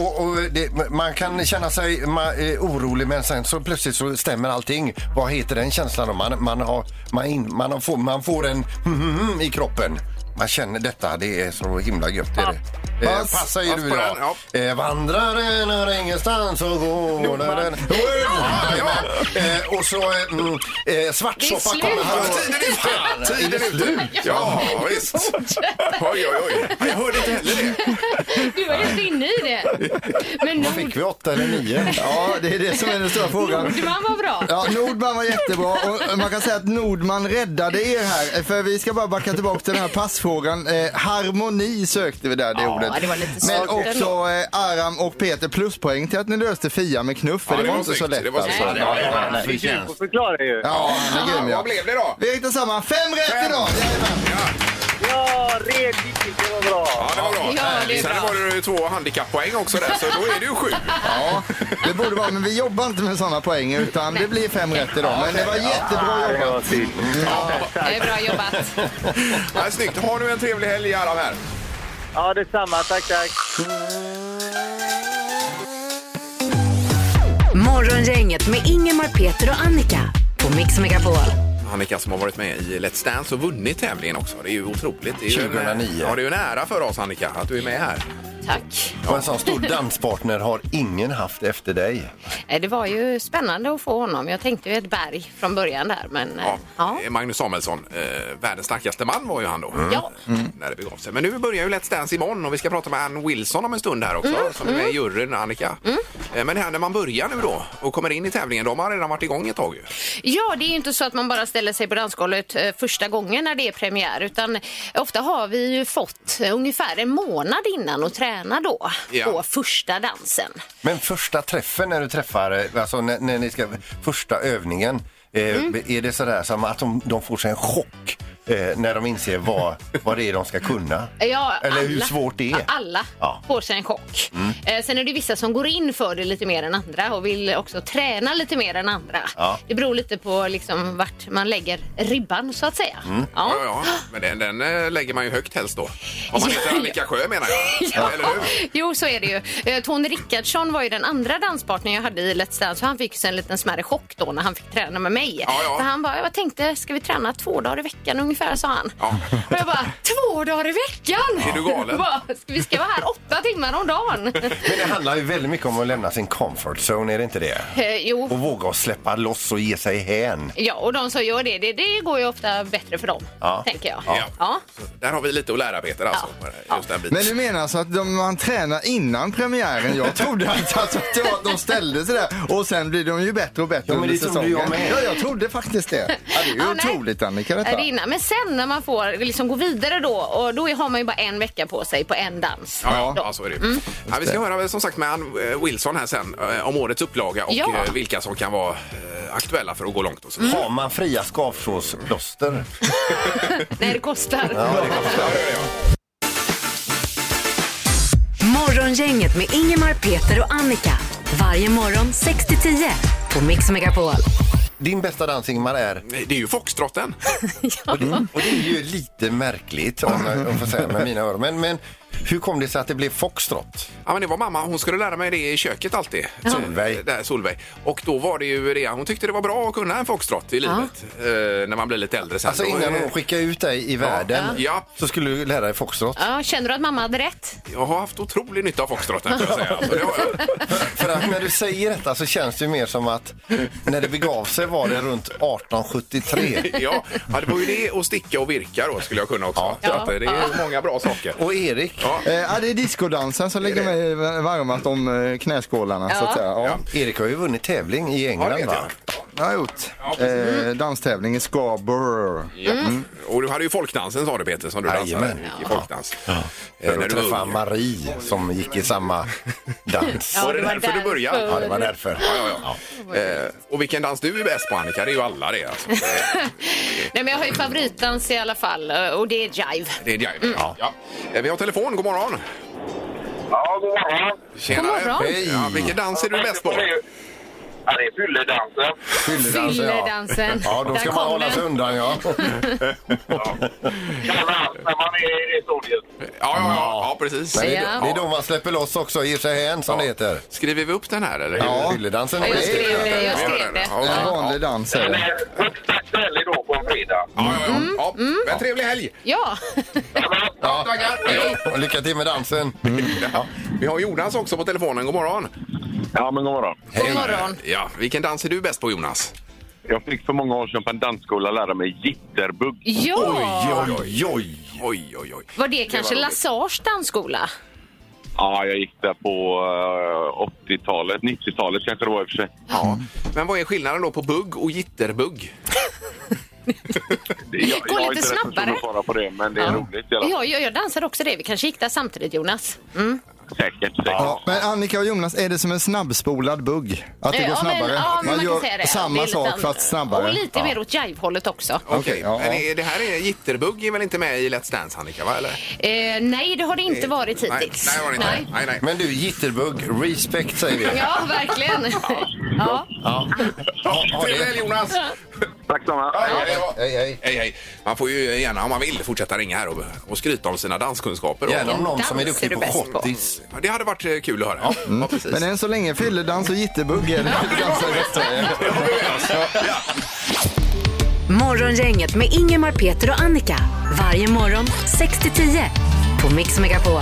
F: och, och det, man kan känna sig ma, eh, orolig men sen så plötsligt så stämmer allting. Vad heter den känslan då? Man, man, har, man, in, man, har, får, man får en hm, i kroppen. Man känner detta, det är så himla gött. Är det. Eh,
D: Pass.
F: passa är
D: Pass
F: du
D: på
F: idag.
D: den,
F: Eh, vandraren har ingenstans att gå. Den- Ja, eh, Och så eh, mm, eh, svartsoppa
E: slut.
F: kommer här.
D: Tiden är fan! Tiden är slut! Ja, visst. Oj, oj, oj. Jag hörde inte heller det.
E: Du var helt inne i det. Men Nord,
F: Fick vi åtta eller nio?
G: Ja, det är det som är den stora frågan.
E: Nordman var bra.
G: Ja, Nordman var jättebra och man kan säga att Nordman räddade er här. För vi ska bara backa tillbaka till den här passfrågan. Eh, harmoni sökte vi där, det ordet.
E: det var lite
G: Men
E: svagt
G: också eh, Aram och Peter pluspoäng till att ni löste Fia med knuff. För
D: Ja,
G: det,
D: det
G: var
D: var
G: inte så
D: snyggt,
G: lätt.
D: det var snyggt.
G: alltså.
D: Ja, ja,
F: nej, nej.
H: Du förklarar ju.
G: Ja, han är grym ja.
D: Vad blev det då?
G: Vi har hittat samman. Fem rätt
D: Fem.
G: idag! Jajamän.
H: Ja, red det var bra.
D: Ja, det var bra.
E: Ja, det är
D: Sen
E: bra.
D: var det ju två handikapppoäng också där, så då är det ju sju.
G: Ja, det borde vara, men vi jobbar inte med sådana poäng utan det blir fem rätt idag. Men det var jättebra
H: Det var
G: jobbat.
H: fint.
E: Det är Eh, bra jobbat.
D: Ja, snyggt. Ha nu en trevlig helg alla här.
H: Ja, detsamma. Tack, tack.
C: Morgongänget med Ingemar, Peter och Annika på Mix Megapol.
D: Annika som har varit med i Let's Dance och vunnit tävlingen också. Det är ju otroligt. Det är ju en-
F: 2009.
D: Ja, det är ju en ära för oss Annika att du är med här.
E: Tack.
F: Och en sån stor danspartner har ingen haft efter dig.
E: Eh, Det var ju spännande att få honom. Jag tänkte ju ett berg från början där, men eh,
D: Ja,
E: ja.
D: det är Magnus Samuelsson, eh, världens starkaste man var ju han då.
E: Ja.
D: Mm. När det begav sig. Men nu börjar ju Let's Dance imorgon och vi ska prata med Ann Wilson om en stund här också
E: Mm.
D: som är med i juryn, Annika. Eh, Men här när man börjar nu då och kommer in i tävlingen, de har redan varit igång ett tag ju.
E: Ja, det är ju inte så att man bara ställer sig på dansgolvet eh, första gången när det är premiär, utan ofta har vi ju fått eh, ungefär en månad innan att träna då
D: Ja.
E: på första dansen.
F: Men första träffen när du träffar, eh, alltså när, när ni ska, första övningen, eh,
G: Mm.
F: är det sådär som att de, de får sig en chock eh, när de inser vad, vad det är de ska kunna?
E: Ja,
F: Eller hur svårt det är?
E: Alla
F: Ja. Mm.
E: får sig en chock. Eh, sen är det vissa som går in för det lite mer än andra och vill också träna lite mer än andra.
F: Ja.
E: Det beror lite på liksom vart man lägger ribban så att säga.
F: Mm.
E: Ja.
D: Ja, ja. Men den, den eh, lägger man ju högt helst då. Om man
E: Ja,
D: heter
E: ja.
D: Annika Sjö menar jag. Eller hur?
E: Jo, så är det ju. Eh, Tony Rickardsson var ju den andra danspartnern jag hade i Let's Dance. så Han fick ju en liten smärre chock då när han fick träna med mig.
D: Ja, ja.
E: För han bara, jag tänkte, ska vi träna två dagar i veckan ungefär, sa han.
D: Ja.
E: Och jag bara, två dagar i veckan?
D: Är du galen?
E: Jag Bara, ska vi ska vara här åtta timmar om dagen.
F: Men det handlar ju väldigt mycket om att lämna sin comfort zone, är det inte det?
E: Eh, jo.
F: Och våga att släppa loss och ge sig hän.
E: Ja, och de som gör det, det, det går ju ofta bättre för dem,
F: Ja.
E: tänker jag.
D: Ja.
E: Ja.
D: Så Där har vi lite att lära Peter alltså.
E: Ja.
D: på Just den biten.
G: Men du menar alltså att de, man tränar innan premiären? Jag trodde att, alltså, att det var att de ställde sig där och sen blir de ju bättre och bättre
F: Ja, men
G: under
F: det trodde
G: säsongen.
F: jag med.
G: Ja, jag trodde faktiskt det. Ja, det är ju
E: Ja, nej.
G: otroligt Annika
E: Är
G: detta.
E: det innan? Men sen när man får liksom gå vidare då, och då är- har man ju bara en vecka på sig på en dans.
D: Ja, ja, så är det. ju. Ja, vi ska höra som sagt med Ann eh, Wilson här sen eh, om årets upplaga och
E: Ja.
D: eh, vilka som kan vara eh, aktuella för att gå långt och så.
F: Har man fria skavsårsplåster?
E: När det kostar.
C: Morgongänget med Ingemar, Peter och Annika. Varje morgon 6 till 10 på Mix Megapol.
F: Din bästa dans, Ingmar, är...
D: Det är ju foxtrotten.
F: Och det är ju lite märkligt, om jag om jag får säga med mina öron. Men, men hur kom det sig att det blev foxtrot?
D: Ja, men det var mamma. Hon skulle lära mig det i köket alltid.
F: Solveig.
D: Där, Solveig. Och då var det ju det. Hon tyckte det var bra att kunna en foxtrot i livet. Eh, när man blir lite äldre sen.
F: Alltså
D: Då,
F: innan
D: eh,
F: hon skickade ut dig i världen
D: Ja.
F: så skulle du lära dig foxtrot.
E: Ja, känner du att mamma hade rätt?
D: Jag har haft otrolig nytta av foxtrotten. får jag säga. Alltså, det har jag.
F: För att när du säger detta så känns det ju mer som att när det begav sig var det runt 1873.
D: Ja, ja, det var ju det och sticka och virka då skulle jag kunna också. Så att, eh, det är många bra saker.
F: Och Erik,
G: Eh, ja, det är discodansen som ligger mig varmast om eh, knäskålarna så att säga. Ja.
F: Erik har ju vunnit tävling i
D: Ja, det
F: England
D: vet
F: va?
D: jag.
G: Jag har gjort eh, danstävling i Scarborough.
D: Ja. Och du hade ju folkdansen sa du Peter som du dansade.
F: Jajamän.
D: Gick i folkdans. Eh,
F: För att
D: du var
F: träffa
D: ung.
F: Marie som gick i samma dans.
E: Ja,
D: Var det
E: det var
D: därför du
E: därför.
D: började?
F: Ja, det var därför.
D: Ja, ja, ja. Eh, och vilken dans du är bäst på Annika, det är ju alla det. Alltså.
E: Mm. Nej, men jag har ju favoritdans i alla fall och det är jive.
D: Det är jive. Ja. Ja. Eh, Vi har telefon, god morgon.
A: Ja, god morgon.
D: Tjena.
E: God morgon.
D: Hej. Ja, vilken dans är du bäst på?
A: Ja, det är fylledansen.
F: Fylledansen,
E: Fylledansen.
F: Ja, då ska
E: Där
F: man
E: kom
F: hålla
E: den.
F: sig undan ja.
A: Kan allt när man är i det stadiet.
D: Ja, ja, ja, ja precis.
F: Men det, är,
E: Ja.
F: då- det är då man släpper loss också, ger sig hän som det heter.
D: Skriver vi upp den här eller?
F: Ja. Fylledansen.
E: Jag skrev det, jag
D: Vi gör
E: skrev
D: den.
E: det.
D: Ja, okej.
G: En vanlig dans är
A: Den
G: det.
A: är högst aktuell idag på en fredag.
D: Ja, ja, ja.
E: Mm.
D: ja. Men trevlig helg!
E: Ja,
F: Ja.
D: Tackar.
F: Och lycka till med dansen.
E: Mm.
D: Mm. Ja. Vi har Jonas också på telefonen, god morgon.
J: Ja, men god morgon.
E: god morgon.
D: Ja, vilken dans är du bäst på Jonas?
J: Jag fick för många år sedan på en dansskola lära mig jitterbug.
E: Ja,
F: Oj, oj.
D: Oj, oj, oj.
E: var det kanske Lassars dansskola?
J: Ja, jag gick där på eh, 80-talet, 90-talet kanske det var i och för sig.
D: Ja. Men vad är skillnaden då på bugg och jitterbugg?
J: Det- Jag, jag är
E: Gå lite
J: inte rätt person
E: snabbare.
J: att svara på det, men det är roligt i alla fall.
E: Ja, jag, jag dansar också det. Vi kanske gick där samtidigt, Jonas. Mm.
J: Säkert, säkert.
G: Ja, men Annika och Jonas, är det som en snabbspolad bugg? Att det
E: Eh,
G: går
E: ja, men-
G: snabbare?
E: ja, men man kan
G: gör
E: säga det. Det
G: samma
E: är lite
G: sak
E: an-
G: fast snabbare.
E: Och lite
G: Ja.
E: mer åt jive-hållet också.
D: Okej,
G: ja,
D: men
G: ja.
D: är- det här är jitterbug är väl inte med i Let's Dance Annika? Va? Eller?
E: Eh, nej, det har det inte varit
D: Nej,
E: hittills.
D: nej, det var det inte. Nej. Nej,
F: Men du, jitterbug, respect säger vi.
E: Ja, verkligen. ja.
F: Ja, ha
D: Trevlig helg
F: det.
D: Jonas!
J: Tack samma.
D: Ja, det var-
F: Hej, hej.
D: Hej, hej. Man får ju gärna om man vill fortsätta ringa här och, och skryta om sina danskunskaper. Och,
F: Gärna om någon
E: Dans
F: som är
E: är
F: duktig
E: du
F: på
E: bäst på.
F: schottis.
D: Ja, det hade varit eh, kul att höra. Ja,
F: mm.
D: precis.
G: Men än så länge fylledans och jitterbugg är det dansa i Västsverige.
C: Morgongänget med Ingemar, Peter och Annika. Varje morgon 6-10 på Mix Megapol.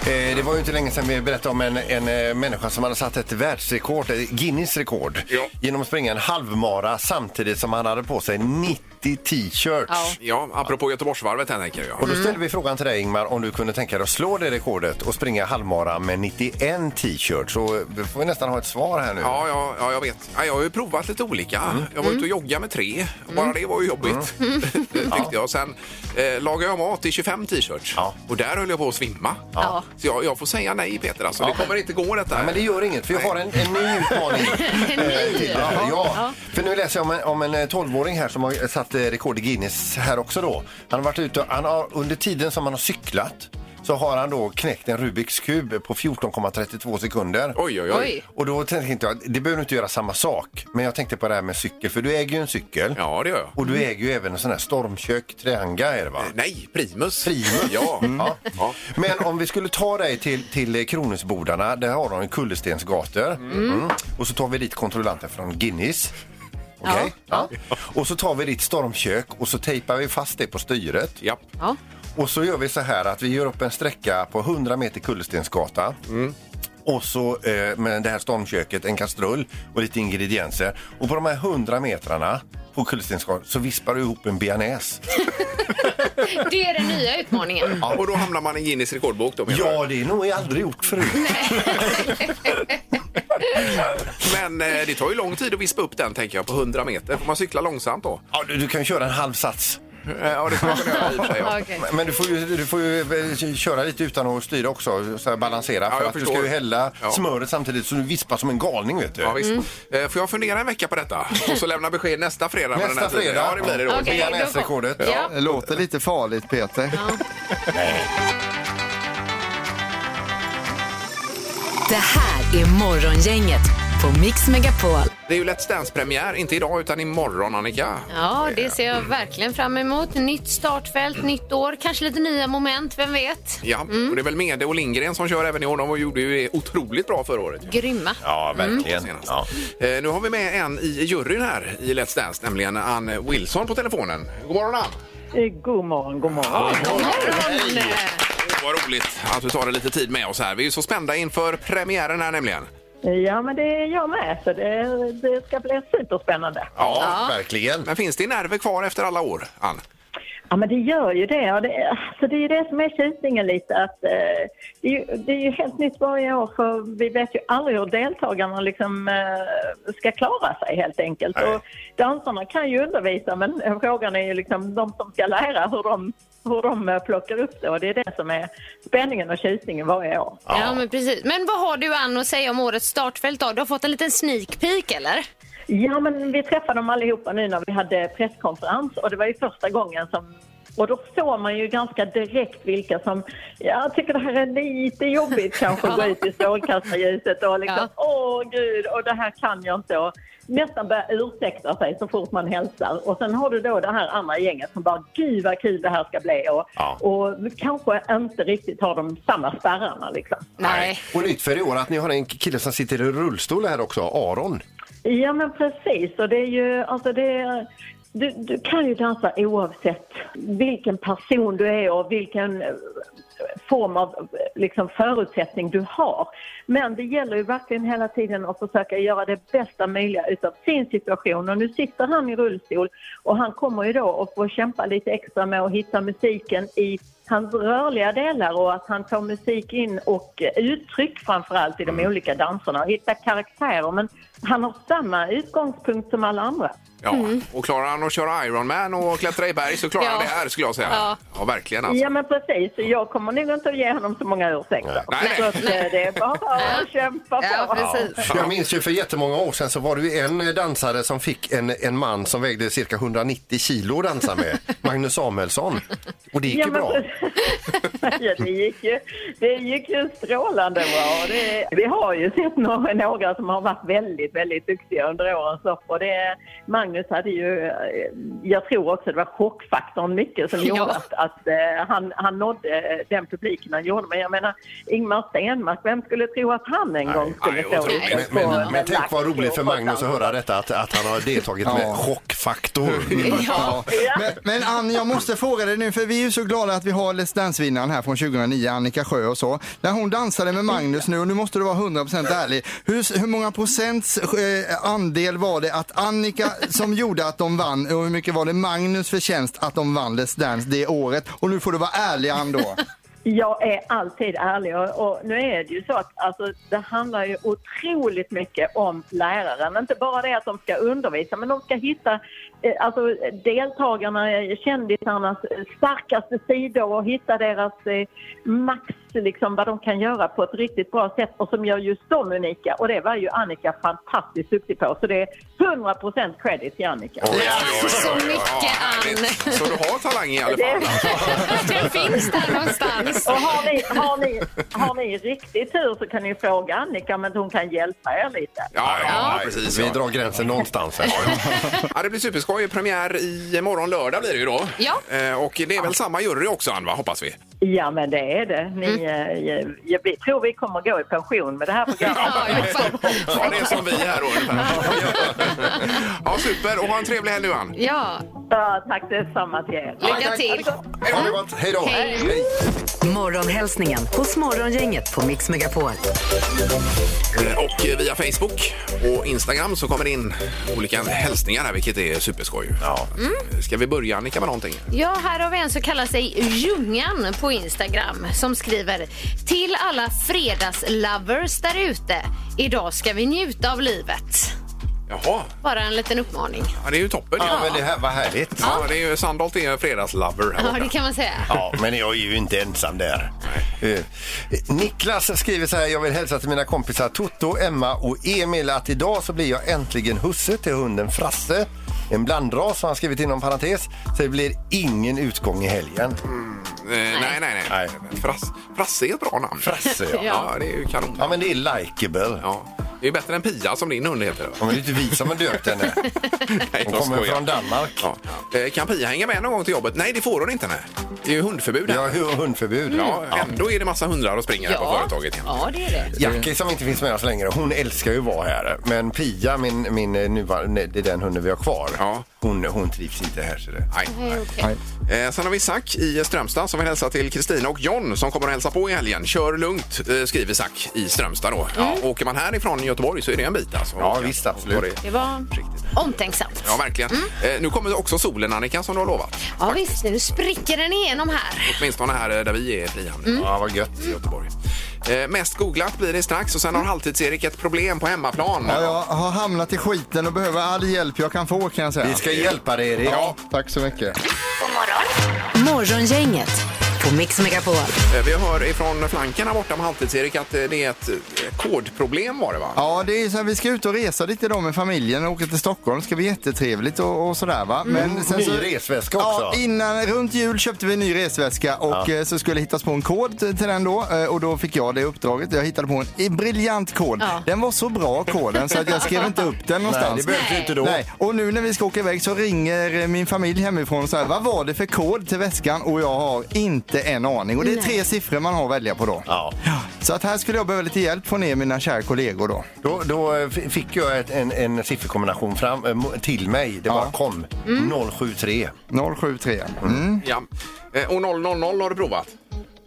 F: Eh, Det var ju inte länge sedan vi berättade om en, en eh, människa som hade satt ett världsrekord, eh, Guinness rekord,
D: Ja.
F: genom att springa en halvmara samtidigt som han hade på sig 90 t-shirts.
E: Ja.
D: Ja, apropå Göteborgsvarvet här tänker jag.
F: Och då
E: Mm.
F: ställde vi frågan till dig Ingmar om du kunde tänka dig att slå det rekordet och springa halvmara med 91 t-shirts. Så eh, vi får ju nästan ha ett svar här nu.
D: Ja, ja, ja, jag vet. Ja, jag har ju provat lite olika. Jag var ute och joggade med tre. Bara det var ju jobbigt, tyckte jag. Sen eh, lagade jag mat i 25 t-shirts.
F: Ja.
D: Och där höll jag på att svimma.
E: Ja.
D: Så jag, jag får säga nej, Peter. Alltså. Det kommer inte gå detta.
F: Ja, men det gör inget, för jag har en, en ny utmaning.
E: En ny?
F: eh, till det här. Ja. För nu läser jag om en, om en eh, 12-åring här som har satt eh, rekord i Guinness här också då. Han har varit ute och, han har, under tiden som han har cyklat så har han då knäckt en Rubiks kub på 14,32 sekunder.
D: Oj, oj, oj.
E: Oj.
F: Och då tänkte jag, det behöver du inte göra samma sak. Men jag tänkte på det här med cykel, för du äger ju en cykel.
D: Ja, det gör jag.
F: Och du äger ju även en sån här stormkök, Treanga är det va?
D: Nej, Primus. Mm.
F: Primus.
D: Ja.
F: Mm. Ja.
D: Ja.
F: Men om vi skulle ta dig till, till eh, Kronhusbodarna, där har de en kullerstensgator. Mm. Och så tar vi dit kontrollanten från Guinness. Okej? Ja. Och så tar vi ditt stormkök och så tejpar vi fast det på styret.
D: Japp.
E: Ja.
F: Och så gör vi så här att vi gör upp en sträcka på 100 meter kullerstensgata. Och så eh, med det här stormköket, en kastrull och lite ingredienser. Och på de här 100 metrarna på kullerstensgatan så vispar du ihop en bearnaise.
E: Det är den nya utmaningen.
D: Ja, och då hamnar man i Guinness rekordbok. Då, menar jag.
F: Ja, det är nog jag aldrig gjort förut.
D: Men eh, det tar ju lång tid att vispa upp den, tänker jag, på 100 meter. Får man cykla långsamt då?
F: Ja, du, du kan ju köra en halv sats.
D: Eh, Ja, det skulle man kunna göra i och för sig. Ja.
E: Okej.
F: Men- Men du får ju, du får ju eh, köra lite utan att styra också, så här balansera.
D: jag
F: för att du ska
D: förstår.
F: ju hälla
D: Ja.
F: smöret samtidigt så du vispar som en galning vet du.
D: Ja, visst. Eh, Får jag fundera en vecka på detta och så lämna besked nästa fredag? med den
F: Nästa
D: här tiden?
F: fredag.
D: Ja, det blir det då.
E: Okej, då kom-
F: Bearnaiserekordet.
E: Ja.
G: Det låter lite farligt Peter.
C: Det här är Morgongänget på Mix Megapol.
D: Det är ju Let's Dance-premiär, inte idag utan imorgon Annika.
E: Ja, det ser jag verkligen fram emot. Nytt startfält, nytt år, kanske lite nya moment, vem vet?
D: Ja, och det är väl Mede och Lindgren som kör även i år. De gjorde ju det otroligt bra förra året. ju,
E: Grymma.
F: Ja, verkligen.
D: senast.
F: Ja.
D: Eh, nu har vi med en i juryn här i Let's Dance, nämligen Ann Wilson på telefonen. God morgon Ann!
H: Eh, God morgon, god morgon.
D: Åh,
E: Morgon!
D: Vad roligt att du tar dig lite tid med oss här. Vi är ju så spända inför premiären här nämligen.
H: Eh, Ja, men det är jag med, så det, det ska bli superspännande.
F: Ja, verkligen.
D: Men finns det nerver kvar efter alla år, Ann?
H: Ja, men det gör ju det. Och det, alltså, det är ju det som är tjusningen lite. Att, eh, det, är ju, det är ju helt nytt varje år, för vi vet ju aldrig hur deltagarna liksom, eh, ska klara sig helt enkelt.
F: Nej.
H: Och dansarna kan ju undervisa, men eh, frågan är ju liksom de som ska lära hur de, hur de eh, plockar upp det. Och det är det som är spänningen och tjusningen varje år.
E: Ja, men precis. Men vad har du Ann att säga om årets startfält då? Du har fått en liten sneak peek eller?
H: Ja, men vi träffade dem allihopa nu när vi hade presskonferens och det var ju första gången som och då såg man ju ganska direkt vilka som, ja, jag tycker det här är lite jobbigt kanske att gå ut i strålkastarljuset och liksom, åh gud, och det här kan jag inte. Och nästan börja ursäkta sig så fort man hälsar. Och sen har du då det här andra gänget som bara, gud vad kul det här ska bli. Och,
F: Ja.
H: och kanske inte riktigt har de samma spärrarna liksom.
E: Nej.
F: Och nytt för i år att ni har en kille som sitter i rullstol här också, Aron.
H: Ja, men precis. Och det är ju, alltså det är, du, du kan ju dansa oavsett vilken person du är och vilken eh, form av eh, liksom, förutsättning du har. Men det gäller ju verkligen hela tiden att försöka göra det bästa möjliga utav sin situation. Och nu sitter han i rullstol och han kommer ju då att få kämpa lite extra med att hitta musiken i hans rörliga delar och att han får musik in och eh, uttryck framförallt i de olika danserna och hitta karaktärer. Men han har samma utgångspunkt som alla andra.
D: Ja. Och klarar han att köra Ironman och klättra i berg så klarar
E: Mm. Ja.
D: han det här skulle jag säga. Ja,
E: Ja.
D: verkligen alltså.
H: Ja men precis, jag kommer nog inte att ge honom så många ursäkter.
D: Nej, nej.
H: Så att, eh, det är bara att kämpa på.
E: Ja, precis.
F: Jag minns ju för jättemånga år sedan så var det ju en dansare som fick en, en man som vägde cirka 190 kilo att dansa med, Magnus Samuelsson. Och det gick ju
H: men
F: bra.
H: precis. ja, det, gick ju, det gick ju strålande bra. Och det, vi har ju sett några, några som har varit väldigt, väldigt duktiga under årens lopp. Och det, Magnus hade ju, eh, jag tror också det var chockfaktorn mycket som gjorde
E: Ja.
H: att, att eh, han, han nådde eh, den publiken han gjorde. Men jag menar, Ingmar Stenmark, vem skulle tro att han en gång skulle
D: nej,
H: stå
D: otroligt.
F: Men,
H: liksom
F: men,
H: på en
F: men, tänk vad
H: lax
F: roligt för
H: och-
F: Magnus att höra detta, att, att han har deltagit
G: Ja.
F: med chockfaktor.
G: Ja. Men, men Ann, jag måste fråga dig nu, för vi är ju så glada att vi har Let's Dance-vinnaren här från 2009, Annika Sjö och så. När hon dansade med Magnus nu, och nu måste du vara 100% ärlig, hur, hur många procents eh, andel var det att Annika som gjorde att de vann och hur mycket var det Magnus förtjänst att de vann Let's Dance det året? Och nu får du vara ärlig Ann då.
H: Jag är alltid ärlig och, och nu är det ju så att alltså, det handlar ju otroligt mycket om läraren. Inte bara det att de ska undervisa men de ska hitta eh, alltså, deltagarna, eh, kändisarnas eh, starkaste sidor och hitta deras eh, max, liksom, vad de kan göra på ett riktigt bra sätt och som gör just dem unika. Och det var ju Annika fantastiskt duktig på så det är 100% credit till Annika.
E: Tack så mycket, Ann.
D: härligt. Så du har talang i alla fall?
H: Det-
D: alltså.
E: Den finns där någonstans.
H: Och har ni, har, ni, har ni riktigt tur så kan ni fråga Annika, men hon kan hjälpa er lite.
D: Ja, ja, precis.
F: Vi
D: Ja.
F: drar gränsen någonstans. Här.
D: Ja, det blir superskoj. Premiär i morgon lördag blir det ju då.
E: Ja.
D: Eh, Och det är väl samma jury också, Ann, va? hoppas vi?
H: Ja, men det är det. Ni, eh, jag, jag tror vi kommer gå i pension med det här programmet.
E: Ja, jag fattar.
D: Ja, det är som vi här då ungefär. Ja, super. Och ha en trevlig helg nu, Ann.
E: Ja,
H: Ja, tack detsamma till er.
E: lycka till.
F: Hej då, Johan. Hej då!
E: Hej.
C: Morgonhälsningen hos Morgongänget på Mix Megapol.
D: Eh, Och via Facebook och Instagram så kommer det in olika hälsningar här, vilket är superskoj. Ja. Ska vi börja, Annika, med någonting?
E: Ja, här har vi en som kallar sig Ljungan på Instagram som skriver Till alla fredagslovers där ute. Idag ska vi njuta av livet.
D: Jaha,
E: Bara en liten uppmaning.
D: ja, det är ju toppen.
F: Ja, men det här var härligt.
D: Ja, det är ju Sandholt är ju en fredagslover här
E: Ja,
D: borta.
E: det kan man säga.
F: Ja, men jag är ju inte ensam där. Eh, Niklas skriver så här, jag vill hälsa till mina kompisar Toto, Emma och Emil att idag så blir jag äntligen husse till hunden Frasse. En blandras har han skrivit inom parentes, så det blir ingen utgång i helgen.
D: Eh, nej, nej, nej.
F: Nej.
D: Frass, Frasse är ett bra namn.
F: Frasse ja.
D: Ja, det är ju kanon.
F: Ja men det är likeable. Ja.
D: Ja. Det är ju bättre än Pia som din hund heter.
F: Men det är inte vi som har döpt henne.
D: Nej,
F: Hon
D: jag
F: kommer
D: skojar.
F: från Danmark.
D: Ja. Eh, Kan Pia hänga med någon gång till jobbet? Nej, det får hon inte. Nej. Det är ju hundförbud.
F: Vi
D: här.
F: har hu- hundförbud.
D: Mm. Ja, ändå är det massa hundar och springer här på företaget. igen.
E: ja, det är det.
F: Jackie som inte finns med oss längre, hon älskar ju att vara här. Men Pia, min, min eh, nuvarande, det är den hunden vi har kvar,
D: Ja.
F: hon, hon trivs inte här. Så det.
D: Nej.
E: Nej, okej.
D: Eh, sen har vi Zack i Strömstad som vill hälsa till Kristina och John som kommer att hälsa på i helgen. Kör lugnt, eh, skriver Zack i Strömstad. Då. Ja, åker man härifrån Göteborg så är det en bit. Alltså.
F: Ja,
D: Åka.
F: visst, absolut.
D: Det-
E: Det var omtänksamt.
D: Ja, verkligen. Eh, nu kommer också solen, Annika, som du har lovat.
E: Ja, visst, nu spricker den igenom här.
D: Åtminstone här eh, där vi är i Frihamn.
F: Ja, vad gött.
D: i Göteborg. Eh, mest googlat blir det strax och sen har Halvtids-Erik ett problem på hemmaplan.
G: Ja, jag har hamnat i skiten och behöver all hjälp jag kan få kan jag säga.
F: Vi ska hjälpa dig, Erik.
G: Ja, tack så mycket.
C: Morgongänget på Mix Megapol.
D: Eh, vi hör ifrån flanken här borta med Halvtids-Erik att eh, det är ett eh, kodproblem var det va?
G: Ja, det är så här, vi ska ut och resa lite då med familjen och åka till Stockholm. Det ska bli jättetrevligt och, och sådär va. Men sen
F: Mm. Ny resväska
G: Ja,
F: också.
G: innan, runt jul köpte vi en ny resväska och eh, så skulle hittas på en kod till till den då eh, och då fick jag det uppdraget. Jag hittade på en i- briljant kod.
E: Ja.
G: Den var så bra koden så att jag skrev inte upp den någonstans.
F: Nej, det behövs ju inte då.
G: Nej, och nu när vi ska åka iväg så ringer eh, min familj hemifrån och säger vad var det för kod till väskan och jag har inte en aning. Och det är tre siffror man har att välja på då.
F: Ja.
G: Så att här skulle jag behöva lite hjälp från er mina kära kollegor då.
F: Då, då eh, f- fick jag ett, en, en sifferkombination fram, eh, mo- till mig. Det bara
G: Ja.
F: kom. 073.
G: 073. Mm.
D: Ja. Eh, och 000 har du provat?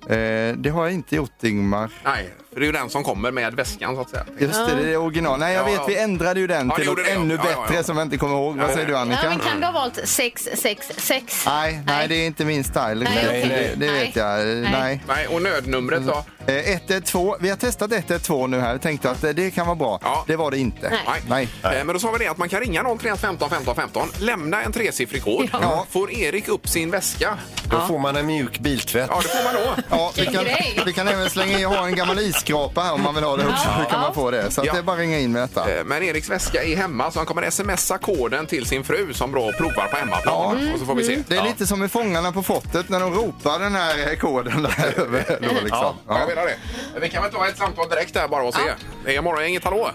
G: Eh, det har jag inte gjort Ingmar.
D: Nej, För det är ju den som kommer med väskan så att säga.
G: Just det, det är original. Nej, jag
D: Ja,
G: vet,
D: ja.
G: vi ändrade ju den
D: Ja, det
G: till
D: gjorde
G: något
D: det, ja.
G: ännu
D: Ja, ja,
G: bättre
D: ja.
G: som jag inte kommer ihåg. Vad säger du
E: Ja,
G: Annika?
E: men kan du ha valt 666?
G: Nej, nej, det är inte min style.
E: Nej,
G: det,
E: okej.
G: det vet jag.
E: Nej.
G: Nej.
D: Nej, och nödnumret då?
G: Eh, 112, vi har testat 112 nu här och tänkte att eh, det kan vara bra.
D: Ja.
G: Det var det inte.
E: Nej.
G: Nej.
D: Eh, Men då sa vi det att man kan ringa 031 15 15 15, lämna en tresiffrig kod.
G: Ja.
D: Får Erik upp sin väska?
F: Då får man en mjuk biltvätt.
D: Ja, det får man då.
G: Ja, vi, kan,
E: grej.
G: vi kan även slänga i ha en gammal isskrapa här om man vill ha det också. Då kan man få det. Så att
D: Ja.
G: det är bara att ringa in med detta.
D: Eh, Men Eriks väska är hemma så han kommer smsa koden till sin fru som då provar på hemmaplan. Och så får vi se.
G: Det är lite som i Fångarna på fortet när de ropar den här eh, koden där över. Då, liksom.
D: Ja, jag menar det. Vi kan väl ta ett samtal direkt där bara och se. Det är morgongänget, hallå?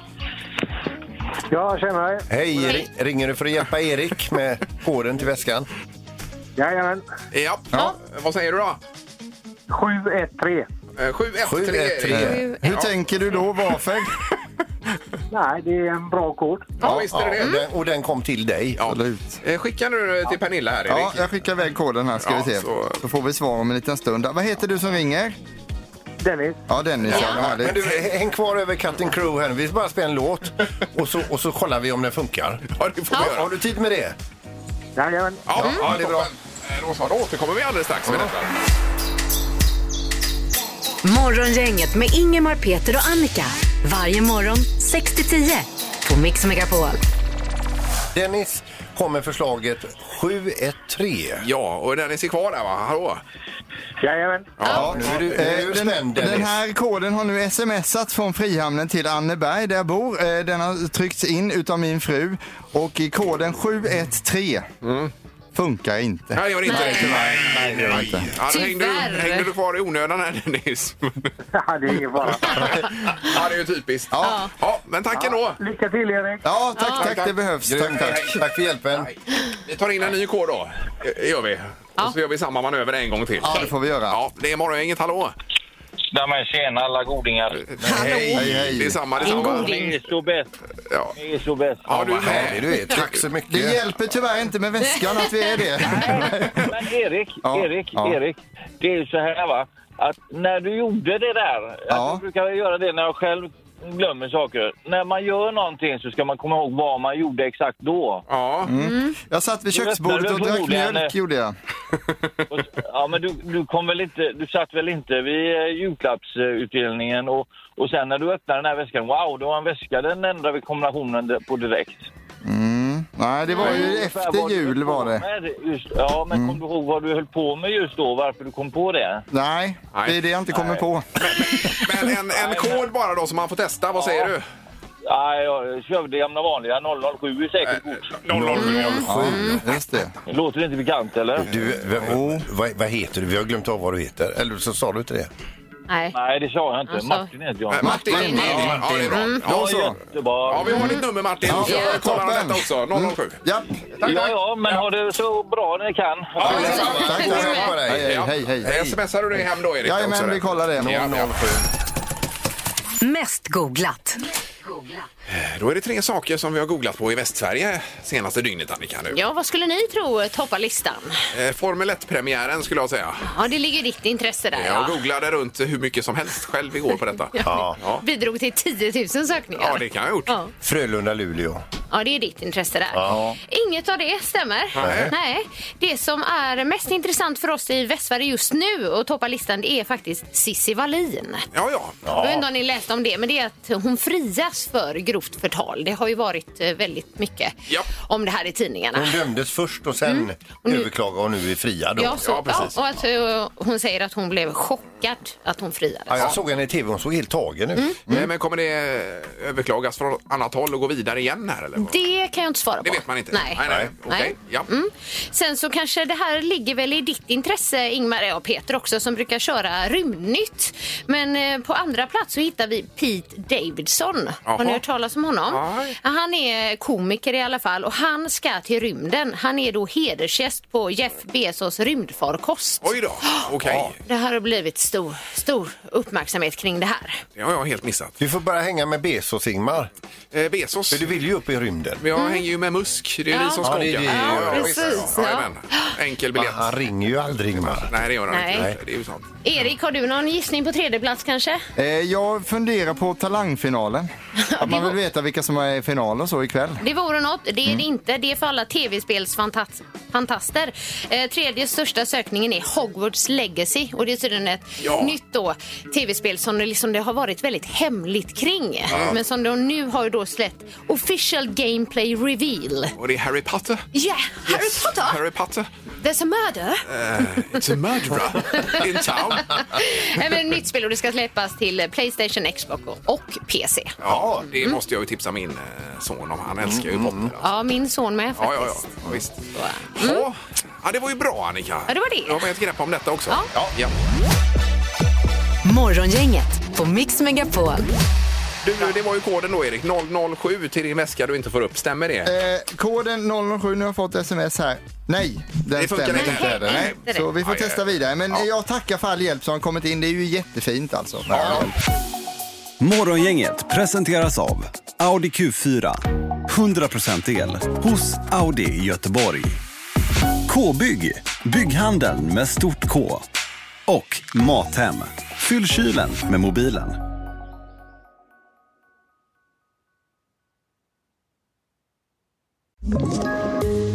J: Ja, tjena.
F: Hej, ri- ringer du för att hjälpa Erik med koden till väskan?
J: Jajamän.
D: Ja. Eh, Vad säger du då?
J: 713.
D: Eh, 713
F: 713.
D: Erik.
G: Eh, Hur tänker du då? Varför?
J: Nej, det är en bra kod.
D: Ja, visst är det det.
F: Den, och den kom till dig.
D: Ja.
G: Absolut.
D: Eh, Skicka nu till Pernilla här,
G: Ja,
D: Erik.
G: jag skickar iväg koden här ska
D: Ja,
G: vi se.
D: så-
G: Så... får vi svar om en liten stund. Vad heter du som ringer?
J: Dennis.
G: Ja, Dennis. Ja, härligt.
D: men du-
F: Häng kvar över Captain Crew här. Vi ska bara spela en låt och så, och så kollar vi om den funkar.
D: Ja, det får vi
F: Har
D: göra.
F: du tid med det?
J: Jajamän.
D: Ja, ja, det är bra. Eh, Då så, då återkommer vi alldeles strax med detta.
C: Morgongänget med Ingemar, Peter och Annika. Varje morgon 6 till 10 på Mix Megapol.
F: Dennis kom med förslaget 713.
D: Ja, och den är kvar där va? Hallå?
J: Jajamän.
F: Ja, nu är du, nu är du
G: Eh, Den,
F: spänd Dennis.
G: den här koden har nu smsats från Frihamnen till Anneberg där jag bor. Eh, Den har tryckts in utav min fru och i koden 713 funkar inte.
D: Nej, jag gör inte det. Nej, nej, nej. Ja, då hängde, du,
E: Tyvärr.
D: hängde du kvar i onödan här Dennis?
J: Ja, det är ingen fara.
D: ja, det är ju typiskt. Ja. Ja, men tack ändå.
J: Lycka till, Erik.
G: Ja, tack, tack,
D: tack.
G: det behövs.
F: Grymt,
G: Tack, tack.
F: tack. tack för hjälpen.
D: Vi tar in en ny kod då. Det gör vi. Och så gör vi samma manöver en gång till.
G: Ja, det får vi göra.
D: Ja, det är morgongänget. Hallå!
J: Nej, men tjena alla godingar.
G: Hej, hej.
D: Detsamma, detsamma.
J: Ni är så bäst.
D: Ja.
J: Ni är så bäst.
D: ja, du är
F: Härlig
D: med.
F: du är. Tack så mycket.
G: Det hjälper tyvärr inte med väskan att vi är det.
J: Men Erik,
G: Ja,
J: Erik,
G: ja.
J: Erik. Det är ju så här va. Att när du gjorde det där.
G: Ja.
J: Jag brukar göra det när jag själv glömmer saker. När man gör någonting så ska man komma ihåg vad man gjorde exakt då.
D: Ja,
G: Jag satt vid köksbordet och drack mjölk gjorde jag.
J: Och, ja, men du, du, kom väl inte, du satt väl inte vid eh, julklappsutdelningen och, och sen när du öppnade den här väskan, wow, det var en väska, den ändrade vi kombinationen de- på direkt.
G: Nej, det var ju
J: Ungefär vad
G: efter
J: du höll
G: jul
J: på
G: var det. Mm.
J: Med just, ja, men kom du ihåg vad du höll på med just då, varför du kom på det?
G: Nej, det är det jag inte kommer på.
D: men en, en kod bara då som man får testa. Vad säger du? Eh,
J: Nej, jag kör det gamla vanliga, 007 är säkert kort.
D: 007.
G: Ja, Mm, just det.
J: Låter det inte bekant eller?
F: Du, vem, vad, vad heter du? Vi har glömt av vad du heter. Eller så sa du inte det.
E: Nej.
J: Nej, det sa jag inte.
E: Alltså.
J: Martin heter jag.
D: Martin.
E: Martin.
D: Ja, ja, det är bra.
G: Då så.
J: Jättebra.
D: Ja, vi har ditt nummer Martin.
G: Ja,
D: Jag kollar
G: toppen. Mm.
D: detta också. 007.
G: Ja,
J: Ja, ja, men ha det så bra ni kan.
G: tack.
F: God helg på dig.
G: Hej, hej, hej.
D: Eh, Smsar du det hem då Erik? Också
G: Jajamän,
D: det.
G: vi kollar det.
D: Ja, ja.
C: Mest googlat.
D: Eh, Då är det tre saker som vi har googlat på i Västsverige senaste dygnet Annika. Nu.
E: Ja, vad skulle ni tro toppar listan?
D: Eh, Formel 1-premiären skulle jag säga.
E: Ja, det ligger i ditt intresse där.
D: Jag
E: Ja.
D: googlade runt hur mycket som helst själv igår på detta.
F: Ja.
E: Bidrog till 10 000 sökningar.
D: Ja, det kan jag ha gjort.
E: Ja.
F: Frölunda-Luleå.
E: Ja, det är ditt intresse där. Inget av det stämmer.
D: Nej.
E: Det som är mest intressant för oss i Västsverige just nu och toppar listan det är faktiskt Cissi Wallin.
D: Ja, ja.
E: Jag vet inte om ni läste om det, men det är att hon frias för grovt förtal. Det har ju varit eh, väldigt mycket
D: Ja.
E: om det här i tidningarna.
F: Hon dömdes först och sen överklagade och nu är fria då.
E: Mm. Ja, så,
D: Ja, precis.
E: ja, och att eh, hon säger att hon blev chockad att hon friades.
F: Ja, jag såg henne i tv, hon såg helt tagen
E: Mm.
F: ut.
G: Mm.
D: Eh, Men- Men kommer det överklagas från annat håll och gå vidare igen här eller? vad?
E: Det kan jag inte svara på.
D: Det vet man inte.
E: Nej.
D: Nej, nej. Okej.
E: Nej.
D: Ja.
E: Mm. Sen så kanske det här ligger väl i ditt intresse, Ingmar och Peter också, som brukar köra Rymdnytt. Men eh, på andra plats så hittar vi Pete Davidson.
D: Jaha.
E: Har ni hört talas om honom?
D: Nej.
E: Han är komiker i alla fall och han ska till rymden. Han är då hedersgäst på Jeff Bezos rymdfarkost.
D: Oj då. Okej.
E: Det här har blivit stor, stor uppmärksamhet kring det här.
D: Det har jag helt missat.
F: Du får bara hänga med Bezos, Ingmar.
D: Eh, Bezos.
F: För du vill ju upp i rymden.
D: Men jag hänger ju med Musk. Det är
E: Mm.
D: ni som
E: Ja.
F: Ja,
D: skånkar.
F: det är det.
E: Ja,
D: visst.
E: precis,
D: Ja,
E: ja.
D: jajamän. Enkel
F: Men
D: biljett.
F: Ah, Han ringer ju aldrig Ingmar.
D: Nej, det gör han
E: Nej.
D: inte. Det är ju sant.
E: Erik, har du någon gissning på tredje plats kanske?
G: Eh, jag funderar på talangfinalen. Att man vill veta vilka som är i finalen så ikväll.
E: Det vore något. Det är
D: Mm.
E: det inte. Det är för alla tv-spelsfantaster. Eh, tredje största sökningen är Hogwarts Legacy. Och det är tydligen ett
D: Ja.
E: nytt då, tv-spel som det, liksom, det har varit väldigt hemligt kring. Men som de nu har ju då släppt Official Gameplay Reveal.
D: Och det är Harry Potter.
E: Yeah, Harry
D: Yes,
E: Potter!
D: Harry Potter. Eh,
E: There's a murder!
D: It's a murderer in town.
E: Nej, men nytt spel och det ska släppas till Playstation, Xbox och PC.
D: Ja, det måste jag ju tipsa min eh, son om. Han älskar
E: Mm.
D: ju Potter. alltså.
E: Ja, min son med
D: Ja,
E: faktiskt.
D: ja, ja. ja visst. Ja. ja, det var ju bra Annika.
E: Mm. Ja, det var det.
D: Jag har ett grepp om detta också.
E: Ja.
D: Ja.
C: Morgongänget på Mix Megapol.
D: Du, det var ju koden då Erik. 007 till din väska du inte får upp. Stämmer det?
G: Eh, koden 007, nu har jag fått sms här. Nej, den
D: Det funkar
G: stämmer
D: inte.
G: inte.
D: Nej,
G: Nej,
E: inte det.
G: så vi får
D: Aj, aj,
G: testa
D: aj.
G: vidare. Men
D: Ja.
G: jag tackar för all hjälp som har kommit in. Det är ju jättefint alltså.
K: Morgongänget presenteras av Audi Q4. 100% el hos Audi i Göteborg. K-bygg, bygghandeln med stort K. Och Mathem, fyll kylen med mobilen.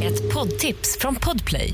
L: Ett poddtips från Podplay.